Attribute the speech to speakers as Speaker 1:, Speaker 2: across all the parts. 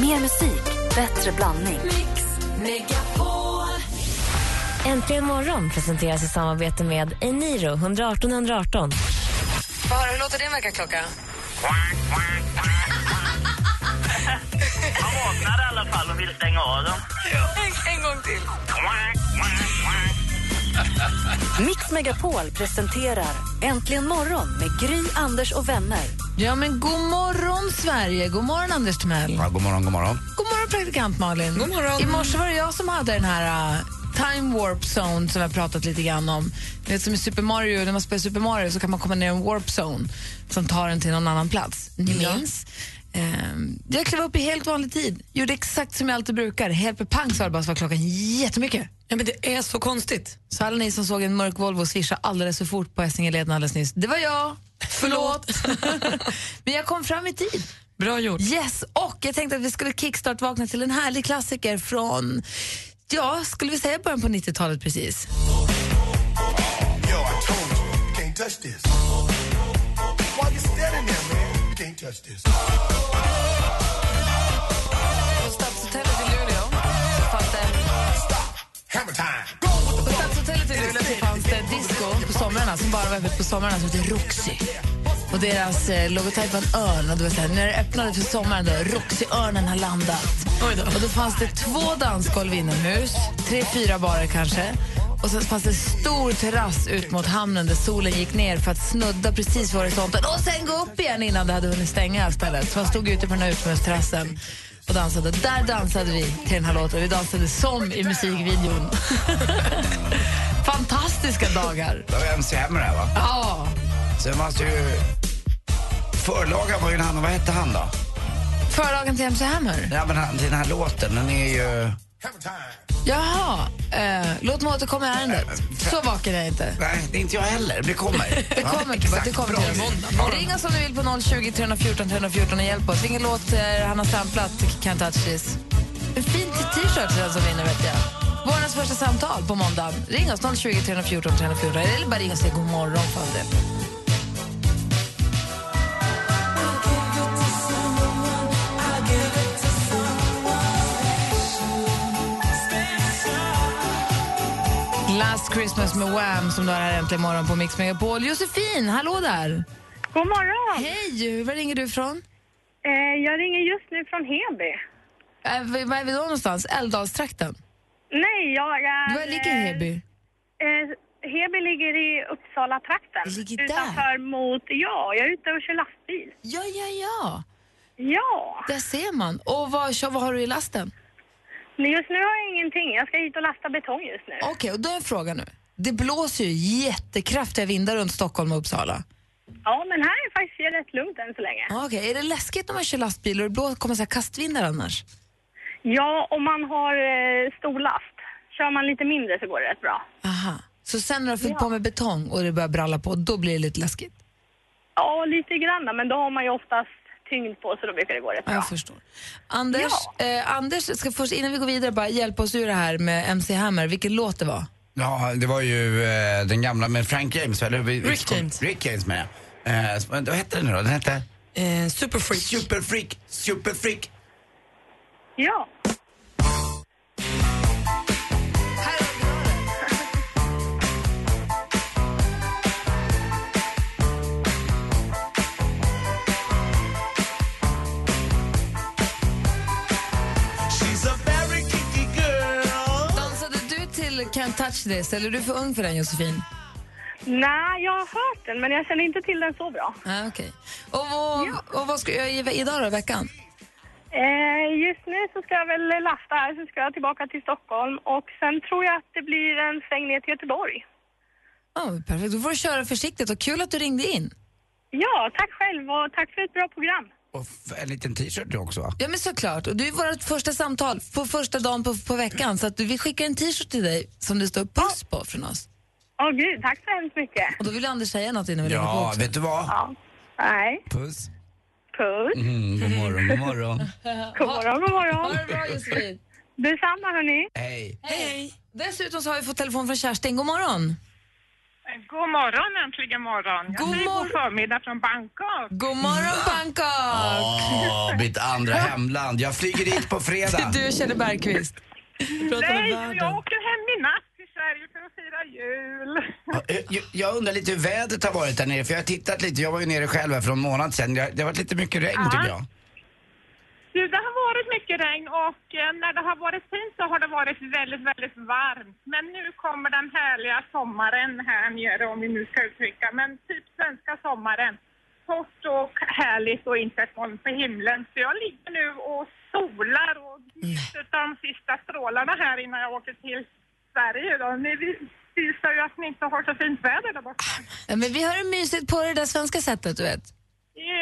Speaker 1: Mer musik, bättre blandning.
Speaker 2: Mix Megapol.
Speaker 3: Äntligen morgon presenteras i samarbete med Eniro 118 118.
Speaker 4: Bara, hur låter din väckarklocka?
Speaker 5: Han vaknar i alla fall och vill stänga av dem.
Speaker 4: En, en gång till.
Speaker 1: Mix Megapol presenterar Äntligen morgon med Gry, Anders och vänner.
Speaker 2: Ja, men god morgon, Sverige. God morgon, Anders Timell.
Speaker 6: Ja, god morgon, god morgon.
Speaker 2: God morgon, praktikant Malin. God morgon. I morse var det jag som hade den här uh, Time Warp Zone som jag pratat lite grann om. Ni vet, som i Super Mario, när man spelar Super Mario så kan man komma ner i en Warp Zone som tar en till någon annan plats. Ni minns? Ehm, jag klev upp i helt vanlig tid, gjorde exakt som jag alltid brukar. Helt pang så var det bara så var klockan jättemycket.
Speaker 7: Ja, men det är så konstigt.
Speaker 2: Så alla ni som såg en mörk Volvo svischa alldeles för fort på Essingeleden alldeles nyss, det var jag. Förlåt. Men jag kom fram i tid.
Speaker 7: Bra gjort.
Speaker 2: Yes, och jag tänkte att vi skulle kickstart-vakna till en härlig klassiker från, ja, skulle vi säga början på 90-talet precis?
Speaker 8: Yo, I told you, you can't touch this. Why you standing there, man? You can't touch this.
Speaker 2: På Stadshotellet i Luleå så fanns det,
Speaker 8: Hammer time.
Speaker 2: på Stadshotellet i Luleå så fanns det disco på somrarna som bara var öppet på somrarna som hette Roxy. Och deras eh, logotyp var en örn och det var så här, när det öppnade för sommaren då, Roxy-örnen har landat.
Speaker 7: Oj då.
Speaker 2: Och då fanns det två dansgolv inomhus, tre, fyra barer kanske. Och sen fanns det stor terrass ut mot hamnen där solen gick ner för att snudda precis vid horisonten och sen gå upp igen innan det hade hunnit stänga stället. Så man stod ute på den här utomhusterrassen och dansade. Där dansade vi till den här låten. Vi dansade som i musikvideon. Fantastiska dagar.
Speaker 6: Det var MC Hammer här, va?
Speaker 2: Ja,
Speaker 6: Sen fanns det ju... Förlagan var ju en han, vad hette han då?
Speaker 2: förlagen till MC Hammer.
Speaker 6: Nej, men han, den här låten, den är ju...
Speaker 8: Hammer time.
Speaker 2: Jaha, eh, låt mig återkomma i ärendet. Så vaken är jag inte.
Speaker 6: Nej, det är inte jag heller. Det kommer.
Speaker 2: Det
Speaker 6: Ja,
Speaker 2: kommer,
Speaker 6: exakt.
Speaker 2: det kommer
Speaker 6: Bra.
Speaker 2: till oss. Ring oss om du vill på 020 314 314 och hjälp oss. Vilken låt eh, han har samplat, Can't touch this. En fin t-shirt till den som vinner vet jag. Vårens första samtal på måndag. Ring oss 020 314 314 eller bara ring oss och säg god morgon för all del. Last Christmas med Wham som du har här äntligen morgon på Mix Megapol. Josefin, hallå där!
Speaker 9: God morgon!
Speaker 2: Hej, var ringer du ifrån?
Speaker 9: Eh, jag ringer just nu från Heby.
Speaker 2: Äh, v- var är vi då någonstans? Älvdalstrakten?
Speaker 9: Nej, jag är...
Speaker 2: Var ligger Heby?
Speaker 9: Eh, Heby ligger i Uppsala-trakten.
Speaker 2: Ligger där?
Speaker 9: Utanför mot... Ja, jag är ute och kör lastbil.
Speaker 2: Ja, ja, ja.
Speaker 9: Ja,
Speaker 2: Där ser man. Och vad, kör, vad har du i lasten?
Speaker 9: men just nu har jag ingenting. Jag ska hit och lasta betong just nu.
Speaker 2: Okej, och då är en fråga nu. Det blåser ju jättekraftiga vindar runt Stockholm och Uppsala.
Speaker 9: Ja, men här är faktiskt rätt lugnt än så länge.
Speaker 2: Okej, är det läskigt när man kör lastbil och det blå- kommer så här kastvindar annars?
Speaker 9: Ja, om man har eh, stor last. Kör man lite mindre så går det rätt bra.
Speaker 2: Aha. Så sen när du har fyllt på med betong och det börjar bralla på, då blir det lite läskigt?
Speaker 9: Ja, lite grann, men då har man ju oftast tyngd på så då brukar det gå rätt
Speaker 2: Ja,
Speaker 9: bra.
Speaker 2: jag förstår. Anders, eh, Anders ska först, innan vi går vidare, bara hjälpa oss ur det här med MC Hammer. Vilken låt det var?
Speaker 6: Ja, det var ju eh, den gamla med Frank James, eller? Vi- vi-
Speaker 7: Rick James.
Speaker 6: Rick James med. Eh, så- vad hette den nu då? Den hette
Speaker 7: Eh, superfreak.
Speaker 6: Superfreak, Superfreak.
Speaker 9: Ja.
Speaker 8: She's a very kinky girl.
Speaker 2: Dansade du till Can't touch this eller är du för ung för den Josefin?
Speaker 9: Nej, jag har hört den, men jag känner inte till den så bra.
Speaker 2: Ah, okej. och, vad- och vad ska jag ge idag då, i veckan?
Speaker 9: Eh, just nu så ska jag väl lasta här, sen ska jag tillbaka till Stockholm och sen tror jag att det blir en sväng ner till Göteborg.
Speaker 2: Oh, perfekt, då får du köra försiktigt och kul att du ringde in.
Speaker 9: Ja, tack själv och tack för ett bra program.
Speaker 6: Och f- en liten t-shirt också, va?
Speaker 2: Ja men såklart, och du är vårt första samtal på första dagen på, på veckan så att vi skickar en t-shirt till dig som det står puss på från oss.
Speaker 9: Åh gud, tack så hemskt mycket.
Speaker 2: Och då vill Anders säga något innan vi lägger på
Speaker 6: Ja,
Speaker 2: också.
Speaker 6: vet du vad?
Speaker 9: Ja. Nej,
Speaker 6: Puss.
Speaker 9: puss.
Speaker 6: Mm, god morgon, god morgon.
Speaker 9: God morgon, god
Speaker 2: Mm. Ha
Speaker 9: morgon.
Speaker 2: det bra Josefin.
Speaker 9: Detsamma hörni.
Speaker 6: Hej.
Speaker 2: Hej. Dessutom så har vi fått telefon från Kerstin, god morgon.
Speaker 10: God morgon, äntligen morgon. Jag
Speaker 2: God
Speaker 10: säger
Speaker 2: morgon.
Speaker 10: god förmiddag från Bangkok.
Speaker 2: God morgon Bangkok!
Speaker 6: Åh, mitt andra hemland. Jag flyger dit på fredag.
Speaker 2: Du känner Bergqvist. Vi pratar om
Speaker 10: Nej,
Speaker 2: världen.
Speaker 10: jag åker hem i natt till Sverige för att fira jul.
Speaker 6: Ja, eh, Jag undrar lite hur vädret har varit där nere, för jag har tittat lite. Jag var ju nere själv här för en månad sedan. Jag- Det har varit lite mycket regn
Speaker 10: Ja.
Speaker 6: tycker jag.
Speaker 10: Du, det har varit mycket regn och eh, när det har varit fint så har det varit väldigt, väldigt varmt. Men nu kommer den härliga sommaren här nere om vi nu ska uttrycka, men typ svenska sommaren. Torrt och härligt och inte ett moln på himlen. Så jag ligger nu och solar och njuter av de sista strålarna här innan jag åker till Sverige. Då. Ni visar ju att ni inte har så fint väder där borta.
Speaker 2: Ja, Men vi har det mysigt på det där svenska sättet, du vet.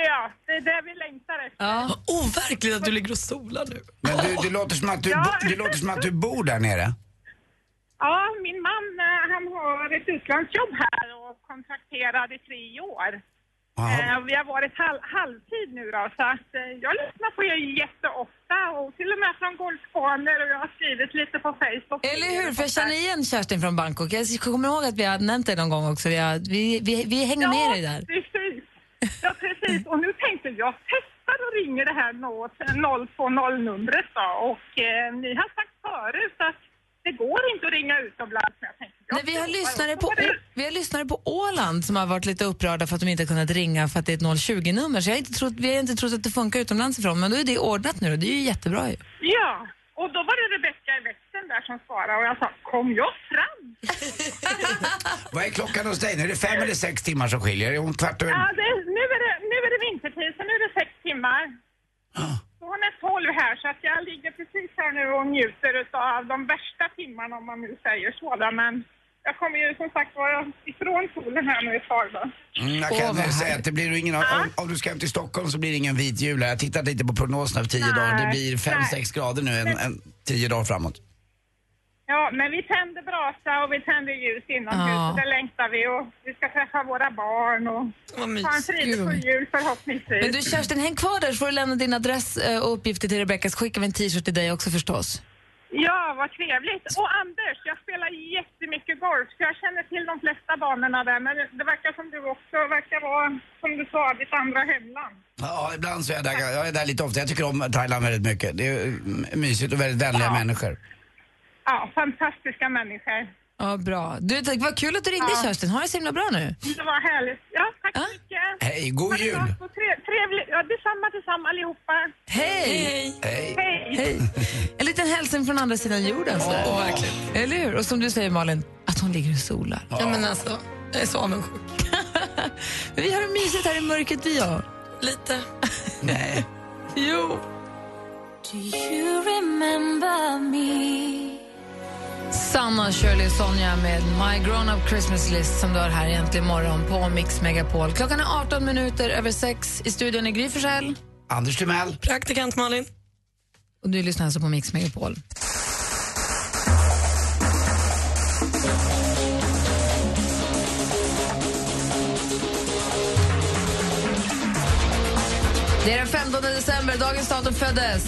Speaker 10: Ja, det är det vi längtar efter.
Speaker 2: Ja.
Speaker 11: Overkligt att du ligger och solar nu.
Speaker 6: Men du, det, låter som att du,
Speaker 10: Ja.
Speaker 6: bo- det låter som att du bor där nere.
Speaker 10: Ja, min man eh, han har ett utlandsjobb här och kontrakterad i tre år.
Speaker 6: Jaha.
Speaker 10: Eh, Vi har varit hal- halvtid nu då, så att eh, jag lyssnar på er jätteofta och till och med från golfbanor och jag har skrivit lite på Facebook.
Speaker 2: Eller hur? För jag känner igen Kerstin från Bangkok. Jag kommer ihåg att vi har nämnt dig någon gång också. Vi, har, vi, vi, vi hänger med dig där.
Speaker 10: Ja, precis. Ja, precis. Och nu tänkte jag testar och ringer det här eh, 020-numret då och eh, ni har sagt förut att det går inte att ringa utomlands. Men jag tänkte, jag
Speaker 2: Nej, vi, har
Speaker 10: provar.
Speaker 2: lyssnare
Speaker 10: Och
Speaker 2: på,
Speaker 10: så var det-
Speaker 2: Å- vi har lyssnare på Åland som har varit lite upprörda för att de inte har kunnat ringa för att det är ett 020-nummer. Så jag har inte trott, vi har inte trott att det funkar utomlands ifrån, men då är det ordnat nu och det är ju jättebra ju.
Speaker 10: Ja, och då var det Rebecka i växeln där som svarade och jag sa kom jag fram?
Speaker 6: Vad är klockan hos dig? Nu är det fem eller sex timmar som skiljer. Är hon kvart över?
Speaker 10: Ja, det, nu, är det, nu är det vintertid så nu är det sex timmar. Så hon är tolv här så att jag ligger precis här nu och njuter av de värsta timmarna om man nu säger så där, men jag kommer ju som sagt vara ifrån solen här nu ett tag då.
Speaker 6: Mm, jag
Speaker 2: Åh,
Speaker 6: kan
Speaker 2: vad
Speaker 6: nu säga
Speaker 2: härligt.
Speaker 6: att det blir ingen, om, om du ska hem till Stockholm så blir det ingen vit jul här. Jag har tittat lite på prognosen över tio
Speaker 10: Nej,
Speaker 6: dagar. Det blir fem,
Speaker 10: nej.
Speaker 6: sex grader nu en, en tio dagar framåt.
Speaker 10: Ja, men vi tänder brasa och vi tänder ljus inomhus
Speaker 2: Ja.
Speaker 10: och det längtar vi och vi ska träffa våra barn och
Speaker 11: Vad
Speaker 10: ha en
Speaker 11: mysigt.
Speaker 10: fridfull jul förhoppningsvis.
Speaker 2: Men du Kerstin, häng kvar där så får du lämna din adress eh, och uppgifter till Rebecka så skickar vi en t-shirt till dig också förstås.
Speaker 10: Ja, vad trevligt. Och Anders, jag spelar jättemycket golf, så jag känner till de flesta banorna där. Men det verkar som du också verkar vara, som du sa, ditt andra hemland.
Speaker 6: Ja, ibland så är jag där, jag är där lite ofta. Jag tycker om Thailand väldigt mycket. Det är mm, mysigt och väldigt vänliga människor.
Speaker 10: Ja, fantastiska människor.
Speaker 2: Ja, bra. Du, tack, vad kul att du ringde Kerstin. Har det så himla bra nu.
Speaker 10: Det var härligt. Ja, tack
Speaker 2: Ja.
Speaker 10: så mycket.
Speaker 6: Hej, god
Speaker 10: Ha det
Speaker 6: jul!
Speaker 10: gott och tre- Trevligt. Ja, detsamma, detsamma allihopa.
Speaker 2: Hej!
Speaker 6: Hej.
Speaker 10: Hej!
Speaker 2: Hej. En liten hälsning från andra sidan jorden. sådär. Eller hur? Och som du säger Malin, att hon ligger och solar.
Speaker 11: Ja, men alltså, jag är så avundsjuk.
Speaker 2: Men vi har det mysigt här i mörkret vi har.
Speaker 11: Lite.
Speaker 6: Nej.
Speaker 2: Jo. Sanna, Shirley och Sonja med My Grown Up Christmas List som du har här egentligen imorgon på Mix Megapol. Klockan är 18 minuter över 6. I studion är Gry Forssell.
Speaker 6: Anders Timell.
Speaker 11: Praktikant Malin.
Speaker 2: Och du lyssnar alltså på Mix Megapol. Det är den 15 december, dagens datum föddes.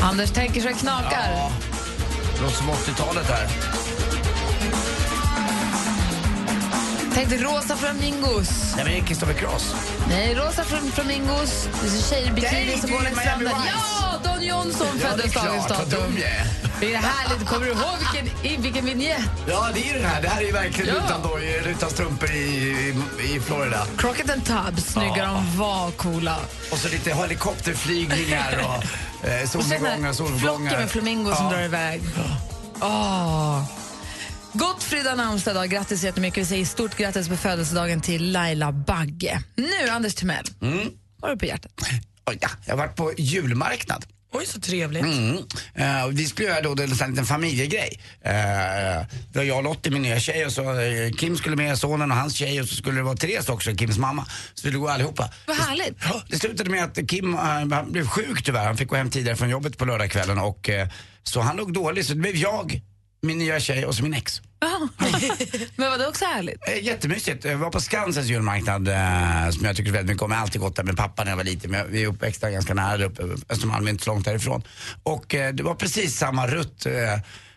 Speaker 2: Anders tänker så det knakar.
Speaker 6: Ja. Låter som 80-talet här.
Speaker 2: Tänkte rosa flamingos.
Speaker 6: Nej, men det är Kristoffer Cross.
Speaker 2: Nej, rosa flam- flamingos. Det är så Tjejer i bikini
Speaker 6: Nej,
Speaker 2: som
Speaker 6: det är
Speaker 2: går längs
Speaker 6: Miami
Speaker 2: stranden.
Speaker 6: Vice.
Speaker 2: Ja, Don Johnson
Speaker 6: Ja, det är
Speaker 2: föddes dagens
Speaker 6: klart. Vad
Speaker 2: datum.
Speaker 6: dum jag är.
Speaker 2: Det är härligt. Kommer du ihåg vilken, i- vilken vignett?
Speaker 6: Ja, det är ju den här. Det här är ju verkligen
Speaker 2: Ja.
Speaker 6: utan, doj, utan strumpor i, i, i Florida.
Speaker 2: Crockett and Tubb, snygga
Speaker 6: Ja.
Speaker 2: de var, coola.
Speaker 6: Och så lite helikopterflygningar och eh,
Speaker 2: Och så den här
Speaker 6: solnedgångar och
Speaker 2: flocken
Speaker 6: solgångar.
Speaker 2: med flamingor som drar iväg. Åh. Gottfrid har namnsdag idag. Grattis jättemycket. Vi säger stort grattis på födelsedagen till Laila Bagge. Nu, Anders Timell.
Speaker 6: Mm.
Speaker 2: Vad har du på hjärtat?
Speaker 6: Oj, ja. Jag har varit på julmarknad.
Speaker 11: Oj, så trevligt.
Speaker 6: Mm. Eh, och vi skulle göra då det är en sån här liten familjegrej. Eh, det var jag och Lottie, min nya tjej, och så eh, Kim skulle med, sonen och hans tjej och så skulle det vara Therese också, Kims mamma. Så vi skulle gå allihopa.
Speaker 2: Vad härligt.
Speaker 6: Ja, Det slutade med att Kim eh, han blev sjuk tyvärr. Han fick gå hem tidigare från jobbet på lördagskvällen och eh, så han låg dålig. Så det blev jag, min nya tjej och så min ex.
Speaker 2: Men var det också härligt?
Speaker 6: Eh, Jättemysigt. Jag var på Skansens julmarknad eh, som jag tycker väldigt mycket om. Jag har alltid gått där med pappa när jag var liten. Men jag- vi är uppväxta ganska nära där uppe. Östermalm är inte så långt därifrån. Och eh, det var precis samma rutt. Eh,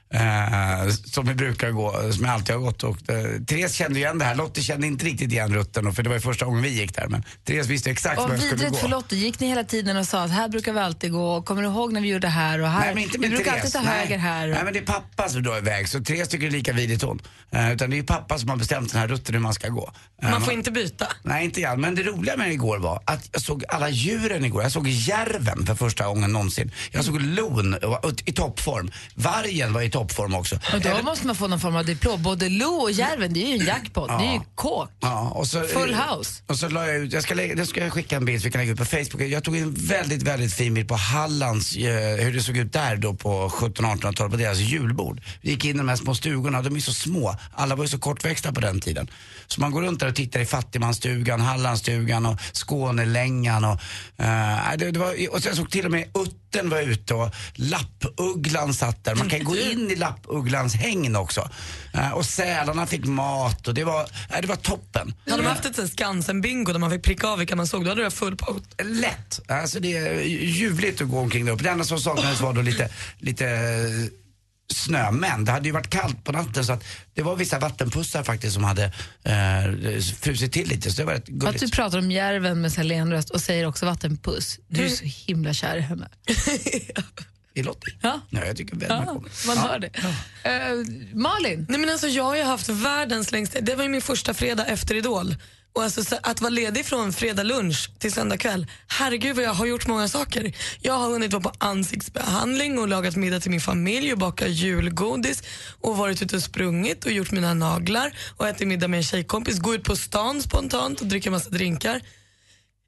Speaker 6: eh, som vi brukar gå, som jag alltid har gått. Och, eh, Therese kände ju igen det här, Lottie kände inte riktigt igen rutten, och- för det var ju första gången vi gick där. Men Therese visste exakt var
Speaker 2: Och
Speaker 6: jag skulle gå.
Speaker 2: vidrigt för Lotte, gick ni hela tiden och sa att här brukar vi alltid gå? Kommer du ihåg när vi gjorde här och här?
Speaker 6: Nej, men inte med
Speaker 2: vi brukar
Speaker 6: Therese.
Speaker 2: alltid ta
Speaker 6: Nej.
Speaker 2: höger här.
Speaker 6: Nej, men det är pappa som drar iväg, så Therese tycker det är lika vidrigt hon. Eh, utan det är ju pappa som har bestämt den här rutten hur man ska gå. Eh,
Speaker 11: Man får inte byta.
Speaker 6: Nej, inte jag. Men det roliga med det igår var att jag såg alla djuren igår. Jag såg järven för första gången någonsin. Jag såg lon och var ut- i toppform. Vargen var i toppform också.
Speaker 2: Men då
Speaker 6: Även-
Speaker 2: måste man få någon form av diplom. Både Lo och Järven, det är ju en jackpot. Det är ju kåk.
Speaker 6: Ja, och så,
Speaker 2: Full house.
Speaker 6: Och så la jag ut, jag ska, lägga, det ska jag skicka en bild så vi kan lägga ut på Facebook. Jag tog en väldigt, väldigt fin bild på Hallands, eh, hur det såg ut där då på 1700-1800-talet på deras julbord. Vi gick in i de här små stugorna, de är så små. Alla var ju så kortväxta på den tiden. Så man går runt där och tittar i fattigmansstugan, Hallandsstugan och Skånelängan och, eh, nej, det, det var, och sen såg till och med utten var ute och lappugglan satt där. Man kan gå
Speaker 2: Mm.
Speaker 6: in i lappugglans hägn också. Eh, och sälarna fick mat och det var, nej, det var toppen.
Speaker 11: Hade man haft ett sånt här Skansen-bingo där man fick pricka av vilka man såg, då hade det varit full pott.
Speaker 6: lätt. Alltså det är ljuvligt att gå omkring där uppe. Det enda som saknades var då lite, lite snö. Men det hade ju varit kallt på natten så att det var vissa vattenpussar faktiskt som hade eh, frusit till lite. Så det var rätt
Speaker 2: Att du
Speaker 6: gulligt.
Speaker 2: pratar om Järven med så här len röst och säger också vattenpuss. Du är så himla kär i henne.
Speaker 6: I Lottie?
Speaker 2: Ja.
Speaker 6: Nej, jag tycker väldigt mycket
Speaker 2: Ja,
Speaker 6: om det.
Speaker 2: man hör det. Eh, Malin,
Speaker 11: Nej men alltså jag har ju haft världens längsta, det var ju min första fredag efter Idol. Och alltså, så att vara ledig från fredag lunch till söndag kväll, herregud vad jag har gjort många saker. Jag har hunnit vara på ansiktsbehandling och lagat middag till min familj och bakat julgodis och varit ute och sprungit och gjort mina naglar och ätit middag med en tjejkompis, gå ut på stan spontant och dricka massa drinkar.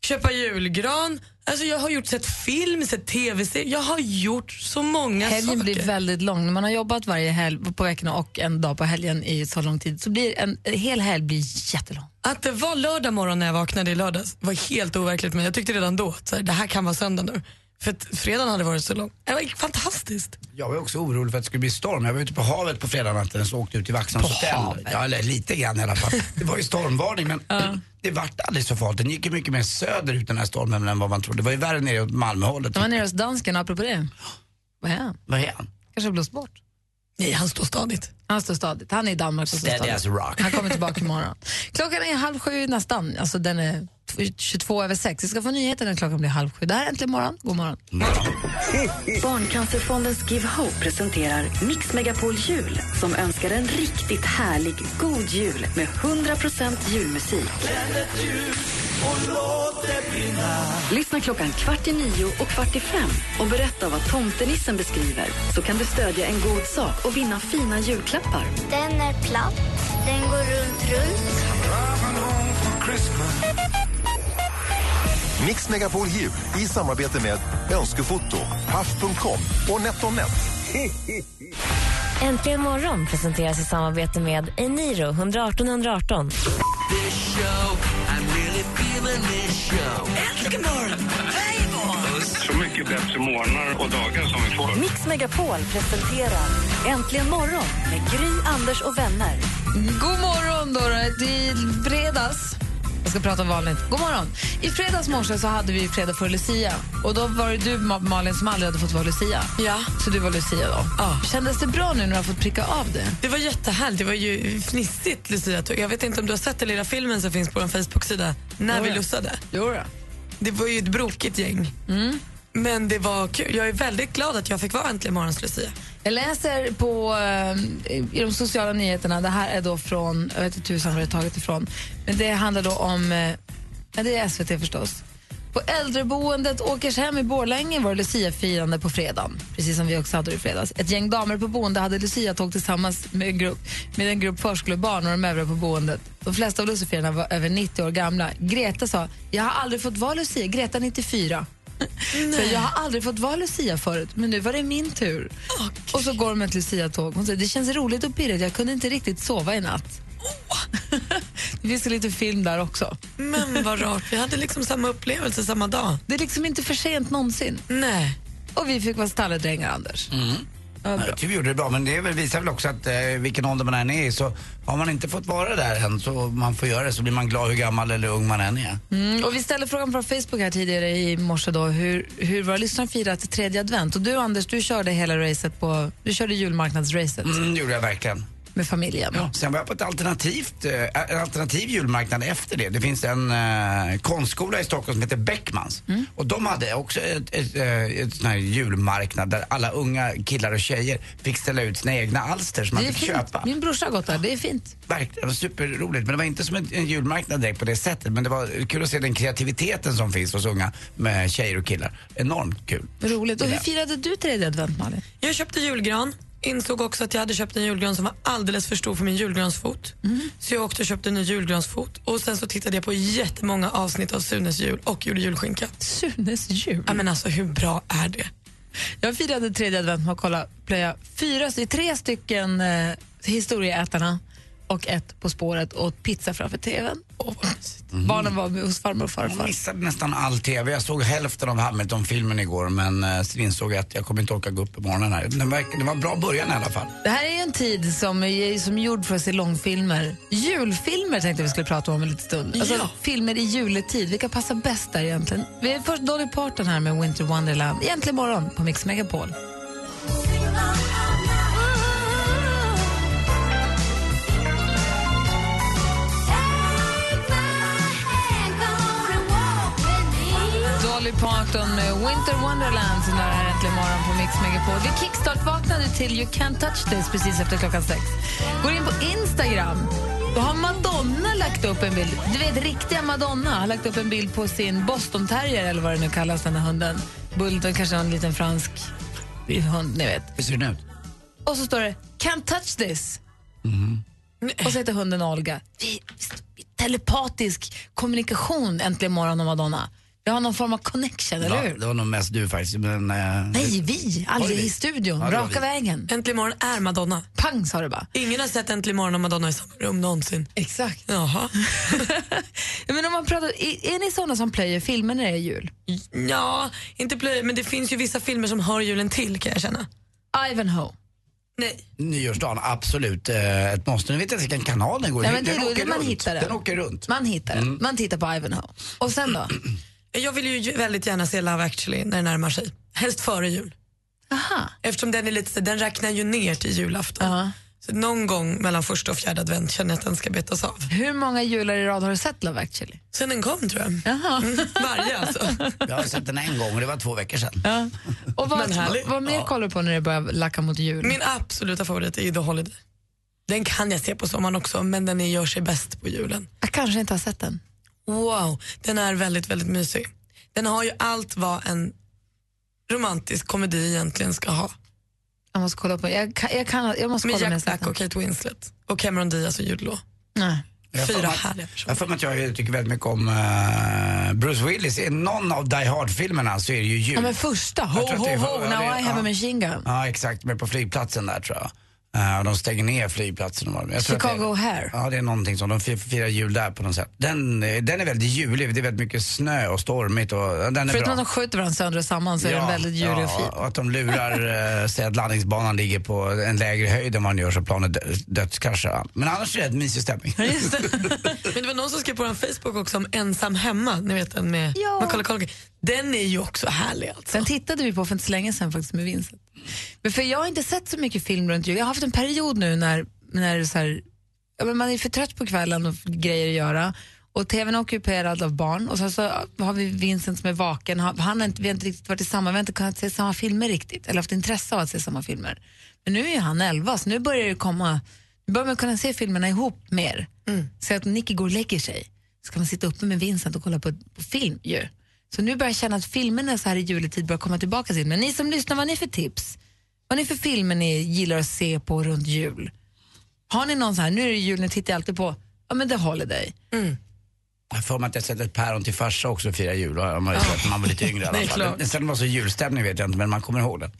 Speaker 11: Köpa julgran, alltså jag har gjort, sett film, sett tv-serier, jag har gjort så många
Speaker 2: helgen
Speaker 11: saker.
Speaker 2: blir väldigt lång. När man har jobbat varje helg på veckorna och en dag på helgen i så lång tid så blir en, en hel helg blir jättelång.
Speaker 11: Att det var lördag morgon när jag vaknade i lördags var helt overkligt men jag tyckte redan då att så här, det här kan vara söndag nu. För att fredagen hade varit så lång. Det var fantastiskt.
Speaker 6: Jag var också orolig för att det skulle bli storm. Jag var ute på havet på fredag natten och så åkte jag ut till Vaxholms hotell. Ja, eller lite grann i alla fall. Det var ju stormvarning men det vart aldrig så farligt. Den gick ju mycket mer söderut den här stormen än vad man trodde. Det var ju värre nere åt Malmöhållet.
Speaker 2: De var nere hos dansken, apropå det. Vad är han?
Speaker 6: Vad är han?
Speaker 2: Kanske har blåst bort.
Speaker 11: Nej, han står stadigt.
Speaker 2: Han står stadigt. Han är i Danmark. och står
Speaker 6: Steady
Speaker 2: stadigt.
Speaker 6: as a rock.
Speaker 2: Han kommer tillbaka imorgon. Klockan är halv sju nästan. Alltså den är tw- 22 över sex. Vi ska få nyheter när klockan blir halv sju. Det här är Äntligen morgon. God morgon.
Speaker 1: Barncancerfondens Give Hope presenterar Mix Megapol Jul som önskar en riktigt härlig, god jul med 100% julmusik. Lyssna klockan kvart i nio och kvart i fem och berätta vad tomtenissen beskriver så kan du stödja en god sak och vinna fina julklappar.
Speaker 12: Den är platt, den går runt, runt.
Speaker 13: Mix Megapol Jul i samarbete med Önskefoto, Paff.com och NetOnNet.
Speaker 3: Äntligen morgon presenteras i samarbete med Eniro 118 118.
Speaker 14: Så mycket bättre morgnar och dagar som vi får.
Speaker 1: Mix Megapol presenterar Äntligen morgon med Gry, Anders och vänner.
Speaker 2: God morgon, då. då. I fredags... Jag ska prata vanligt. God morgon. I fredags morse så hade vi fredag för Lucia. Och Då var det du, Ma- Malin, som aldrig hade fått vara Lucia.
Speaker 11: Ja.
Speaker 2: Så du var Lucia då.
Speaker 11: Ja.
Speaker 2: Kändes det bra nu när du har fått pricka av det?
Speaker 11: Det var jättehärligt. Det var ju fnissigt Lucia. Jag vet inte om du har sett den lilla filmen som finns på vår Facebook-sida. När vi
Speaker 2: ja.
Speaker 11: lussade.
Speaker 2: Jo då.
Speaker 11: Det var ju ett brokigt gäng.
Speaker 2: Mm.
Speaker 11: Men det var kul. Jag är väldigt glad att jag fick vara äntligen morgons Lucia.
Speaker 2: Jag läser på, eh, i de sociala nyheterna, det här är då från, jag vet inte tusan var det är taget ifrån, men det handlar då om, eh, ja, det är SVT förstås. På äldreboendet Åkershem i Borlänge var det Lucia-firande på fredagen, precis som vi också hade det i fredags. Ett gäng damer på boende hade Lucia-tåg tillsammans med en grupp, med en grupp förskolebarn och de övriga på boendet. De flesta av lucifierna var över 90 år gamla. Greta sa, jag har aldrig fått vara Lucia, Greta 94. Så jag har aldrig fått vara Lucia förut, men nu var det min tur. Och så går de med ett Lucia-tåg. Hon säger det känns roligt och pirrigt, jag kunde inte riktigt sova i natt. det finns ju lite film där också.
Speaker 11: Men vad rart. Vi hade liksom samma upplevelse samma dag.
Speaker 2: Det är liksom inte för sent någonsin.
Speaker 11: Nej.
Speaker 6: Mm.
Speaker 2: Och vi fick vara stalledrängar, Anders.
Speaker 6: Ja, jag tycker vi gjorde det bra, men det är väl- visar väl också att eh, vilken ålder man än är i så har man inte fått vara där än så man får göra det så blir man glad hur gammal eller ung man än är.
Speaker 2: Mm, och vi ställde frågan på Facebook här tidigare i morse då, hur, hur våra lyssnare firat tredje advent. Och du Anders, du körde hela racet på, du körde julmarknadsracet
Speaker 6: Mm, det gjorde jag verkligen.
Speaker 2: med familjen.
Speaker 6: Ja, sen var jag på ett alternativt, eh, en alternativ julmarknad efter det. Det finns en eh, konstskola i Stockholm som heter Beckmans.
Speaker 2: Mm.
Speaker 6: Och de hade också ett, ett, eh, ett sån här julmarknad där alla unga killar och tjejer fick ställa ut sina egna alster som man
Speaker 2: Det är
Speaker 6: fick
Speaker 2: fint.
Speaker 6: köpa.
Speaker 2: Min brorsa har gått där, det är fint.
Speaker 6: Verkligen, superroligt. Men det var inte som en, en julmarknad direkt på det sättet. Men det var kul att se den kreativiteten som finns hos unga med tjejer och killar. Enormt kul.
Speaker 2: Roligt. Och hur
Speaker 6: Ja.
Speaker 2: firade du tredje advent, Malin?
Speaker 11: Jag köpte julgran, insåg också att jag hade köpt en julgran som var alldeles för stor för min julgransfot. Så jag åkte och köpte en ny julgransfot och sen så tittade jag på jättemånga avsnitt av Sunes jul och gjorde julskinka.
Speaker 2: Sunes jul?
Speaker 11: Ja men alltså hur bra är det?
Speaker 2: Jag firade tredje advent med att kolla plöja fyra, det är tre stycken eh, historieätarna och ett På spåret och åt pizza framför tvn. Åh, vad mysigt. Barnen var med hos farmor och
Speaker 6: Jag
Speaker 2: farfar.
Speaker 6: missade nästan all TV. Jag såg hälften av Hamilton-filmen igår men eh, sen insåg jag att jag kommer inte orka gå upp på morgonen här. Den verk- det var en bra början i alla fall.
Speaker 2: Det här är ju en tid som är, som är gjord för att se långfilmer. Julfilmer tänkte vi skulle prata om en liten stund. Alltså,
Speaker 11: Ja.
Speaker 2: Filmer i juletid, vilka passar bäst där egentligen? Vi är först Dolly Parton här med Winter Wonderland. Egentligen morgon på Mix Megapol. Dolly Parton med Winter Wonderland som är här äntligen morgon på Mix Megapol. Vi kickstart-vaknade till You Can't Touch This precis efter klockan sex. Går in på Instagram. Då har Madonna lagt upp en bild. Du vet, riktiga Madonna har lagt upp en bild på sin Boston Terrier eller vad det nu kallas, den här hunden. Bulldog, kanske en liten fransk hund, ni vet.
Speaker 6: Hur ser den ut?
Speaker 2: Och så står det Can't touch this.
Speaker 11: Mm-hmm.
Speaker 2: Och så heter hunden Olga. Vi, vi, telepatisk kommunikation äntligen morgon och Madonna. Vi har någon form av connection, eller
Speaker 6: Ja,
Speaker 2: hur?
Speaker 6: det var nog mest du faktiskt. Men, eh,
Speaker 2: Nej, vi. Aldrig
Speaker 6: Oj, vi.
Speaker 2: i studion.
Speaker 6: Ja, det var
Speaker 2: Raka
Speaker 6: vi.
Speaker 2: vägen.
Speaker 11: Äntligen morgon är Madonna.
Speaker 2: Pang sa du bara.
Speaker 11: Ingen har sett Äntligen morgon och Madonna i samma rum någonsin.
Speaker 2: Exakt.
Speaker 11: Jaha.
Speaker 2: Ja, men om man pratar, är, är ni såna som plöjer filmer när det är jul?
Speaker 11: Ja, inte plöj, men det finns ju vissa filmer som hör julen till kan jag känna.
Speaker 2: Ivanhoe.
Speaker 11: Nej.
Speaker 6: Nyårsdagen, absolut. Eh, ett måste. Nu vet jag inte vilken kanal den går i.
Speaker 2: Nej, men det är
Speaker 6: den
Speaker 2: då
Speaker 6: åker
Speaker 2: man
Speaker 6: runt.
Speaker 2: hittar den.
Speaker 6: Den åker runt.
Speaker 2: Man hittar den.
Speaker 6: Mm.
Speaker 2: Man tittar på Ivanhoe. Och sen då?
Speaker 11: Jag vill ju väldigt gärna se Love actually när det närmar sig. Helst före jul.
Speaker 2: Aha.
Speaker 11: Eftersom den är lite så- den räknar ju ner till julafton.
Speaker 2: Ja.
Speaker 11: Så någon gång mellan första och fjärde advent känner jag att den ska betas av.
Speaker 2: Hur många jular i rad har du sett Love actually?
Speaker 11: Sen den kom tror jag.
Speaker 2: Jaha.
Speaker 11: Varje alltså.
Speaker 6: Jag har sett den en gång och det var två veckor sedan.
Speaker 2: Ja. Och vad,
Speaker 11: Men härligt.
Speaker 2: vad mer kollar du på när det börjar lacka mot jul?
Speaker 11: Min absoluta favorit är ju The Holiday. Den kan jag se på sommaren också men den är, gör sig bäst på julen.
Speaker 2: Jag kanske inte har sett den.
Speaker 11: Wow, den är väldigt, väldigt mysig. Den har ju allt vad en romantisk komedi egentligen ska ha.
Speaker 2: Jag måste kolla på Jag, kan, jag, kan, jag måste
Speaker 11: Med
Speaker 2: kolla om jag
Speaker 11: Jack
Speaker 2: sett
Speaker 11: Black
Speaker 2: den.
Speaker 11: och Kate Winslet och Cameron Diaz och Jude Law.
Speaker 2: Nej.
Speaker 6: Jag får
Speaker 11: Fyra
Speaker 6: mig-
Speaker 11: härliga
Speaker 6: Jag har
Speaker 11: personer.
Speaker 6: för mig att jag tycker väldigt mycket om eh, Bruce Willis. I någon av Die Hard-filmerna så är det ju jul.
Speaker 2: Ja, men första, ho,
Speaker 6: tror att det
Speaker 2: ho,
Speaker 6: är-
Speaker 2: ho,
Speaker 6: ja, det
Speaker 2: now
Speaker 6: är-
Speaker 2: I have a
Speaker 6: ja.
Speaker 2: machine gun.
Speaker 6: Ja, exakt. Men på flygplatsen där tror jag. Eh, och de stänger ner flygplatsen. och vad- Jag tror att
Speaker 2: Chicago
Speaker 6: det,
Speaker 2: O'Hare.
Speaker 6: Ja, det är någonting som de fir- firar jul där på något sätt. Den, eh, den är väldigt julig. Det är väldigt mycket snö och stormigt och ja, den är
Speaker 2: Förutom
Speaker 6: bra.
Speaker 2: att de skjuter varandra sönder och samman så är den väldigt julig och fin.
Speaker 6: Ja, och att de lurar, eh, säger att landningsbanan ligger på en lägre höjd än vad den gör så planet dö- dödskraschar. Men annars är det en mysig stämning.
Speaker 11: Men det var någon som skrev på vår Facebook också om Ensam hemma, ni vet den med
Speaker 2: Ja.
Speaker 11: Macaulay Culkin. Den är ju också härlig alltså.
Speaker 2: Den tittade vi på för inte så länge sedan faktiskt med Vincent. Men för jag har inte sett så mycket film runt jul. Jag har haft en period nu när, när så här, ja, men man är för trött på kvällen och grejer att göra. Och tvn är ockuperad av barn och sen så har vi Vincent som är vaken. Han, han har inte, vi har inte riktigt varit tillsammans, vi har inte kunnat se samma filmer riktigt eller haft intresse av att se samma filmer. Men nu är ju han 11 så nu börjar det komma, nu börjar man kunna se filmerna ihop mer. Så att Nicky går och lägger sig ska man sitta uppe med Vincent och kolla på, på film ju. Så nu börjar jag känna att filmerna så här i juletid börjar komma tillbaka till Men ni som lyssnar, vad är ni för tips? Vad är ni för filmer ni gillar att se på runt jul? Har ni någon så här, nu är det jul, nu tittar jag alltid på ja, men The Holiday.
Speaker 6: Jag har för mig att jag sett ett päron till farsa också fira jul. Om man, oh. man var lite yngre i
Speaker 11: Det
Speaker 6: alla
Speaker 11: är
Speaker 6: fall.
Speaker 11: klart.
Speaker 6: Den- Sen var det så julstämning vet jag inte, men man kommer ihåg den.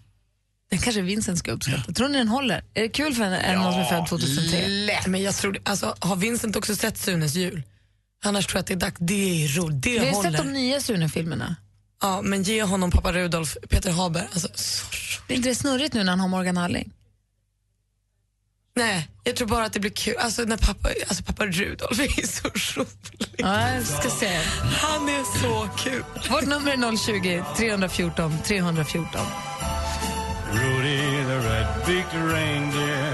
Speaker 2: Den kanske Vincent ska uppskatta. Tror ni den håller? Är det kul för en, en någon som är född 2003?
Speaker 11: Lätt. Men jag tror, det- alltså, har Vincent också sett Sunes jul? Annars tror jag att det är dags. Det är roligt, det
Speaker 2: Vi har ju
Speaker 11: håller.
Speaker 2: sett de nya Sune-filmerna.
Speaker 11: Ja, men ge honom pappa Rudolf, Peter Haber. Alltså, så roligt.
Speaker 2: Blir inte det snurrigt nu när han har Morgan Halling?
Speaker 11: Nej, jag tror bara att det blir kul. Alltså, när pappa, alltså pappa Rudolf är så rolig.
Speaker 2: Ja, jag ska se.
Speaker 11: Han är så kul.
Speaker 2: Vårt nummer är 020 314 314.
Speaker 8: Rudy the red-beaked reindeer,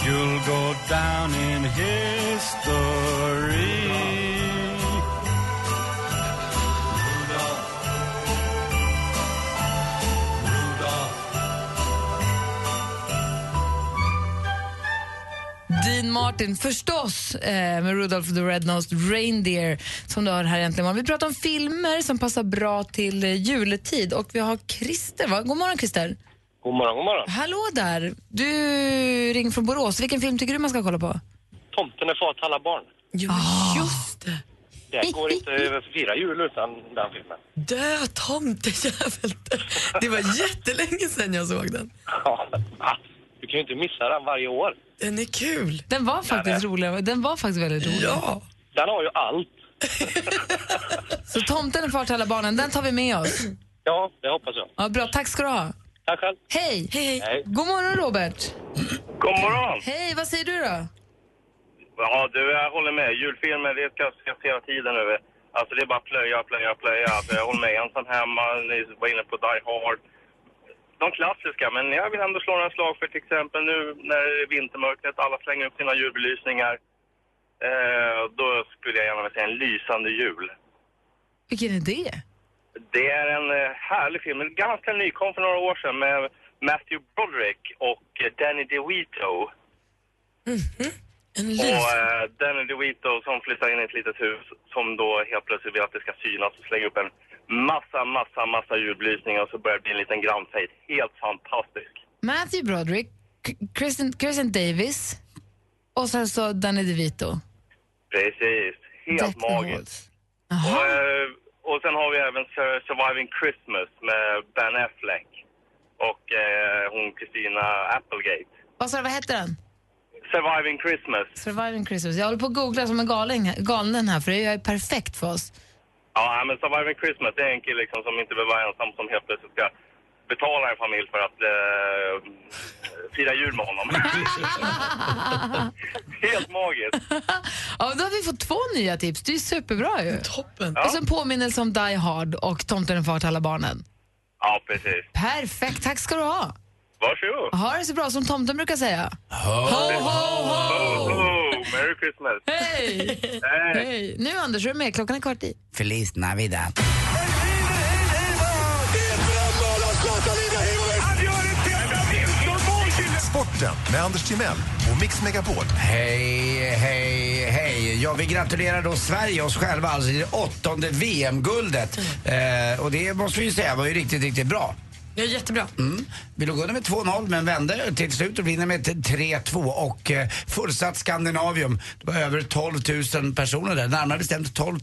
Speaker 8: you'll go down in history.
Speaker 2: Dean Martin, förstås, eh, med Rudolph the Red-Nosed Reindeer som du har här egentligen. imorgon. Vi pratar om filmer som passar bra till eh, juletid och vi har Christer. Va? God morgon Christer.
Speaker 15: God morgon, god morgon.
Speaker 2: Hallå där. Du ring från Borås. Vilken film tycker du man ska kolla på?
Speaker 15: Tomten är far till alla barn.
Speaker 11: Jo, just det.
Speaker 15: Det går inte över fyra jul utan den filmen.
Speaker 11: Dö tomtejävel. Det var jättelänge sedan jag såg den.
Speaker 15: Ja, va? du kan ju inte missa den varje år.
Speaker 11: Den är kul.
Speaker 2: Den var faktiskt rolig. Den var faktiskt väldigt rolig.
Speaker 11: Ja.
Speaker 15: Den har ju allt.
Speaker 2: Så Tomten är far till alla barnen, den tar vi med oss.
Speaker 15: Ja, det hoppas jag.
Speaker 2: Ja, bra, tack ska du ha.
Speaker 15: Tack själv.
Speaker 2: Hej.
Speaker 15: Hej, hej.
Speaker 2: God morgon Robert.
Speaker 14: God morgon!
Speaker 2: Hej, vad säger du då?
Speaker 14: Ja, du, jag håller med. Julfilmer, det ska jag se hela tiden nu. Alltså det är bara plöja, plöja, plöja. Alltså, jag håller med. Ensam hemma, ni var inne på Die Hard. De klassiska, men jag vill ändå slå några slag för till exempel nu när det är vintermörkret, alla slänger upp sina julbelysningar. Eh, då skulle jag gärna vilja se en lysande jul.
Speaker 2: Vilken är det?
Speaker 14: Det är en eh, härlig film, En ganska nykom för några år sedan med Matthew Broderick och eh, Danny DeVito. Och eh, Danny DeVito som flyttar in i ett litet hus som då helt plötsligt vill att det ska synas och slänger upp en massa, massa, massa ljudbelysningar och så börjar det bli en liten grannfejd. Helt fantastisk.
Speaker 2: Matthew Broderick, K- Kristen, Kristen Davis och sen så Danny DeVito.
Speaker 14: Precis, helt magiskt. Och, eh, och sen har vi även Sur- Surviving Christmas med Ben Affleck och eh, hon Christina Applegate.
Speaker 2: Vad sa du, vad heter den?
Speaker 14: Surviving Christmas.
Speaker 2: Surviving Christmas. Jag håller på att googla som en galing, galnen här för det är ju perfekt för oss.
Speaker 14: Ja, men Surviving Christmas, det är en kille liksom, som inte behöver vara ensam som helt plötsligt ska betala en familj för att eh, fira jul med honom. helt magiskt.
Speaker 2: Ja, då har vi fått två nya tips. Det är ju superbra ju.
Speaker 11: Toppen.
Speaker 2: Och sen påminnelse om Die Hard och Tomten är far till alla barnen.
Speaker 14: Ja, precis.
Speaker 2: Perfekt, tack ska du ha.
Speaker 14: Varsågod.
Speaker 2: Ha det så bra som tomten brukar säga.
Speaker 14: Ho, ho, ho! Oh, Merry Christmas.
Speaker 2: Hej! Hej! Nu Anders, är du med? Klockan är kvart i.
Speaker 6: Feliz Navidad.
Speaker 13: Sporten med Anders Timell och Mix Megapol.
Speaker 6: Hej, hej, hej. Ja, vi gratulerar då Sverige, oss själva, alltså i det åttonde VM-guldet.
Speaker 11: Mm.
Speaker 6: Eh, och det måste vi ju säga var ju riktigt, riktigt bra.
Speaker 11: Det är jättebra.
Speaker 6: Mm. Vi låg under med 2-0 men vände till slut och vinner med 3-2 och eh, fullsatt Skandinavium. Det var över 12 000 personer där, närmare bestämt 12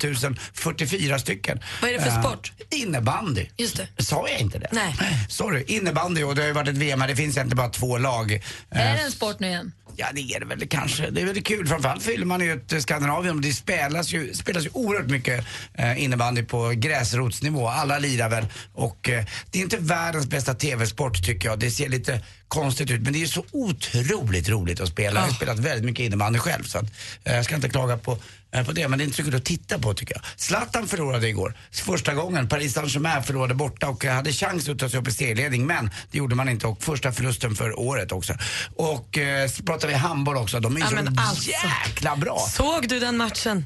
Speaker 6: 044 stycken.
Speaker 11: Vad är det för
Speaker 6: Eh,
Speaker 11: sport?
Speaker 6: Innebandy. Just det. Sa jag inte det?
Speaker 11: Nej.
Speaker 6: Sorry, innebandy och det har ju varit ett VM här, det finns egentligen bara två lag. Eh,
Speaker 2: Är det en sport nu igen?
Speaker 6: Ja, det är det väl kanske. Det är väldigt kul. Framförallt fyller man ju ett eh, Skandinavium. Det spelas ju, spelas ju oerhört mycket eh, innebandy på gräsrotsnivå. Alla lirar väl. Och eh, det är inte världens bästa TV-sport tycker jag. Det ser lite konstigt ut. Men det är ju så otroligt roligt att spela. Jag har spelat väldigt mycket innebandy själv. Så att, eh, jag ska inte klaga på, eh, på det. Men det är inte så kul att titta på tycker jag. Zlatan förlorade igår. Första gången. Paris Saint-Germain förlorade borta och eh, hade chans att ta sig upp i serieledning. Men det gjorde man inte. Och första förlusten för året också. Och eh, så pratar vi handboll också. De är ju
Speaker 11: Ja,
Speaker 6: så
Speaker 11: men alltså.
Speaker 6: jäkla bra.
Speaker 11: Såg du den matchen?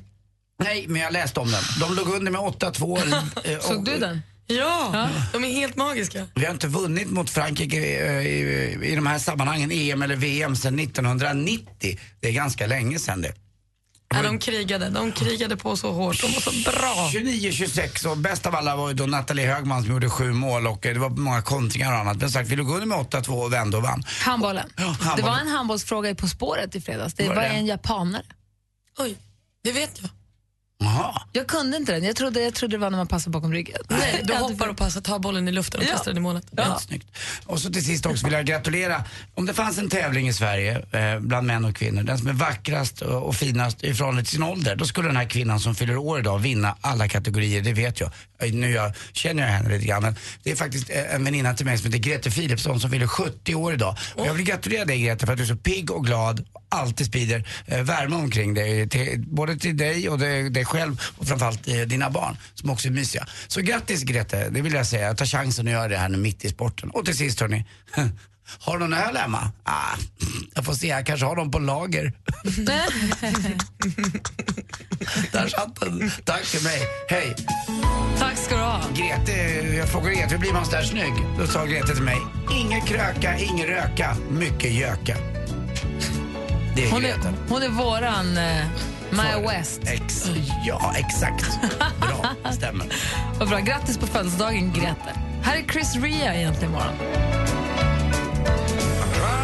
Speaker 6: Nej, men jag läste om den. De låg under med 8-2. eh, och-
Speaker 2: Såg du den?
Speaker 11: Ja, de är helt magiska.
Speaker 6: Vi har inte vunnit mot Frankrike eh, i, i, i de här sammanhangen, EM eller VM, sedan 1990. Det är ganska länge sedan det.
Speaker 11: Ja, de krigade. De krigade på så hårt. De var så bra.
Speaker 6: 29-26 och bäst av alla var ju då Nathalie Högman som gjorde sju mål och eh, det var många kontringar och annat. Men sagt, vi låg under med 8-2 och vände och vann.
Speaker 2: Handbollen. Det
Speaker 6: handbollen.
Speaker 2: var en handbollsfråga i På spåret i fredags. Det
Speaker 6: Var
Speaker 2: var
Speaker 6: det?
Speaker 2: en japanare.
Speaker 11: Oj, det vet jag.
Speaker 2: Jag kunde inte den. Jag trodde, jag trodde det var när man passar bakom ryggen.
Speaker 11: Nej, du hoppar och passar, tar bollen i luften och kastar den i målet.
Speaker 6: Ja. Snyggt. Och så till sist också vill jag gratulera. Om det fanns en tävling i Sverige eh, bland män och kvinnor, den som är vackrast och, och finast i förhållande till sin ålder, då skulle den här kvinnan som fyller år idag vinna alla kategorier, det vet jag. Eh, Nu jag, känner jag henne lite grann, men det är faktiskt eh, en väninna till mig som heter Grete Philipsson som fyller 70 år idag. Och jag vill gratulera dig Grete för att du är så pigg och glad, alltid sprider eh, värme omkring dig, till, både till dig och dig, dig själv och framförallt eh, dina barn som också är mysiga. Så grattis Grete, det vill jag säga. Ta chansen att göra det här nu mitt i sporten. Och till sist hörni, har du någon öl hemma? Ah, jag får se, jag kanske har dem på lager. Där satt den. Tack till mig, hej.
Speaker 2: Tack ska du ha.
Speaker 6: Grete, jag frågade Grete, hur blir man så där snygg? Då sa Grete till mig, inget kröka, inget röka, mycket göka. Det är
Speaker 2: Hon
Speaker 6: Grete.
Speaker 2: är, hon är våran eh, Maya West.
Speaker 6: Ex ja, exakt. Bra, stämmer.
Speaker 2: Vad bra. Grattis på födelsedagen, Grete. Här är Chris Ria egentligen imorgon.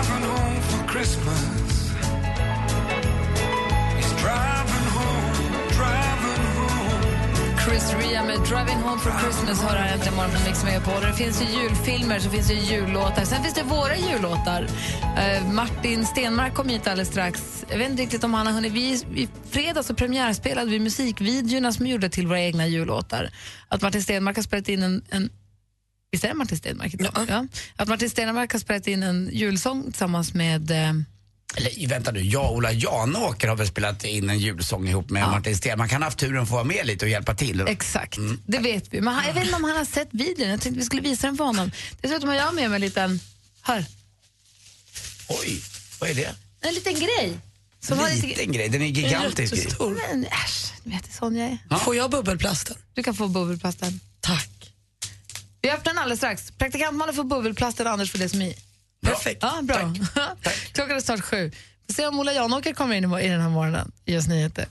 Speaker 8: Driving home for Christmas. He's driving home, driving home.
Speaker 2: Chris Ria med Driving Home for Christmas hör här äntligen imorgon på Mix Megapol. Det finns ju julfilmer, så finns det ju jullåtar. Sen finns det våra jullåtar. Eh, Martin Stenmark kom hit alldeles strax. Jag vet inte riktigt om han har hunnit. Vi, I fredags så premiärspelade vi musikvideorna som vi gjorde till våra egna jullåtar. Att Martin Stenmark har spelat in en, en Visst är det Martin Stenmark? Ja. Ja. Att Martin Stenmark har spelat in en julsång tillsammans med eh,
Speaker 6: Eller vänta nu, jag och Ola Janåker har väl spelat in en julsång ihop med Martin Sten. Man kan ha haft turen att få vara med lite och hjälpa till.
Speaker 2: Exakt. Mm. Det vet vi. Men han, jag vet inte om han har sett videon. Jag tänkte vi skulle visa den för honom. Dessutom har jag med mig en liten, hör,
Speaker 6: Oj, vad är det?
Speaker 2: en liten grej.
Speaker 6: en liten grej, den är gigantisk. grej.
Speaker 2: Men äsch, du vet sån jag är.
Speaker 11: Får jag bubbelplasten?
Speaker 2: Du kan få bubbelplasten.
Speaker 11: Tack.
Speaker 2: Vi öppnar den alldeles strax. Praktikantmannen får bubbelplasten och Anders får det som är i.
Speaker 11: Perfekt.
Speaker 2: Ja, bra. Klockan är snart sju. Vi får se om Ola Janåker kommer in i mor- i den här morgonen. Ge oss nyheter.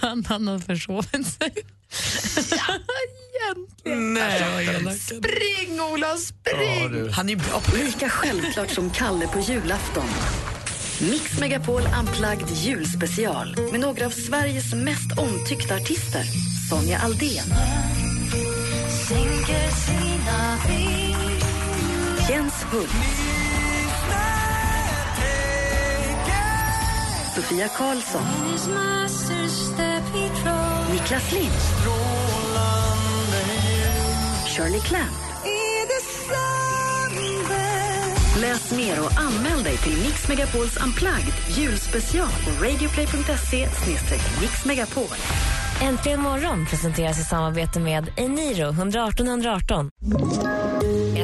Speaker 2: han, han har försovit sig. Egentligen. Spring, Ola, spring!
Speaker 11: Han är bra på
Speaker 1: Lika självklart som Kalle på julafton. Mix Megapol Unplugged julspecial med några av Sveriges mest omtyckta artister. Sonja Aldén. Jens Hult. Sofia Karlsson. Niklas Lindh. Shirley Clamp. Läs mer och anmäl dig till Mix Megapols Unplugged julspecial på radioplay.se mixmegapol.
Speaker 3: Äntligen morgon presenteras i samarbete med Eniro 118 118.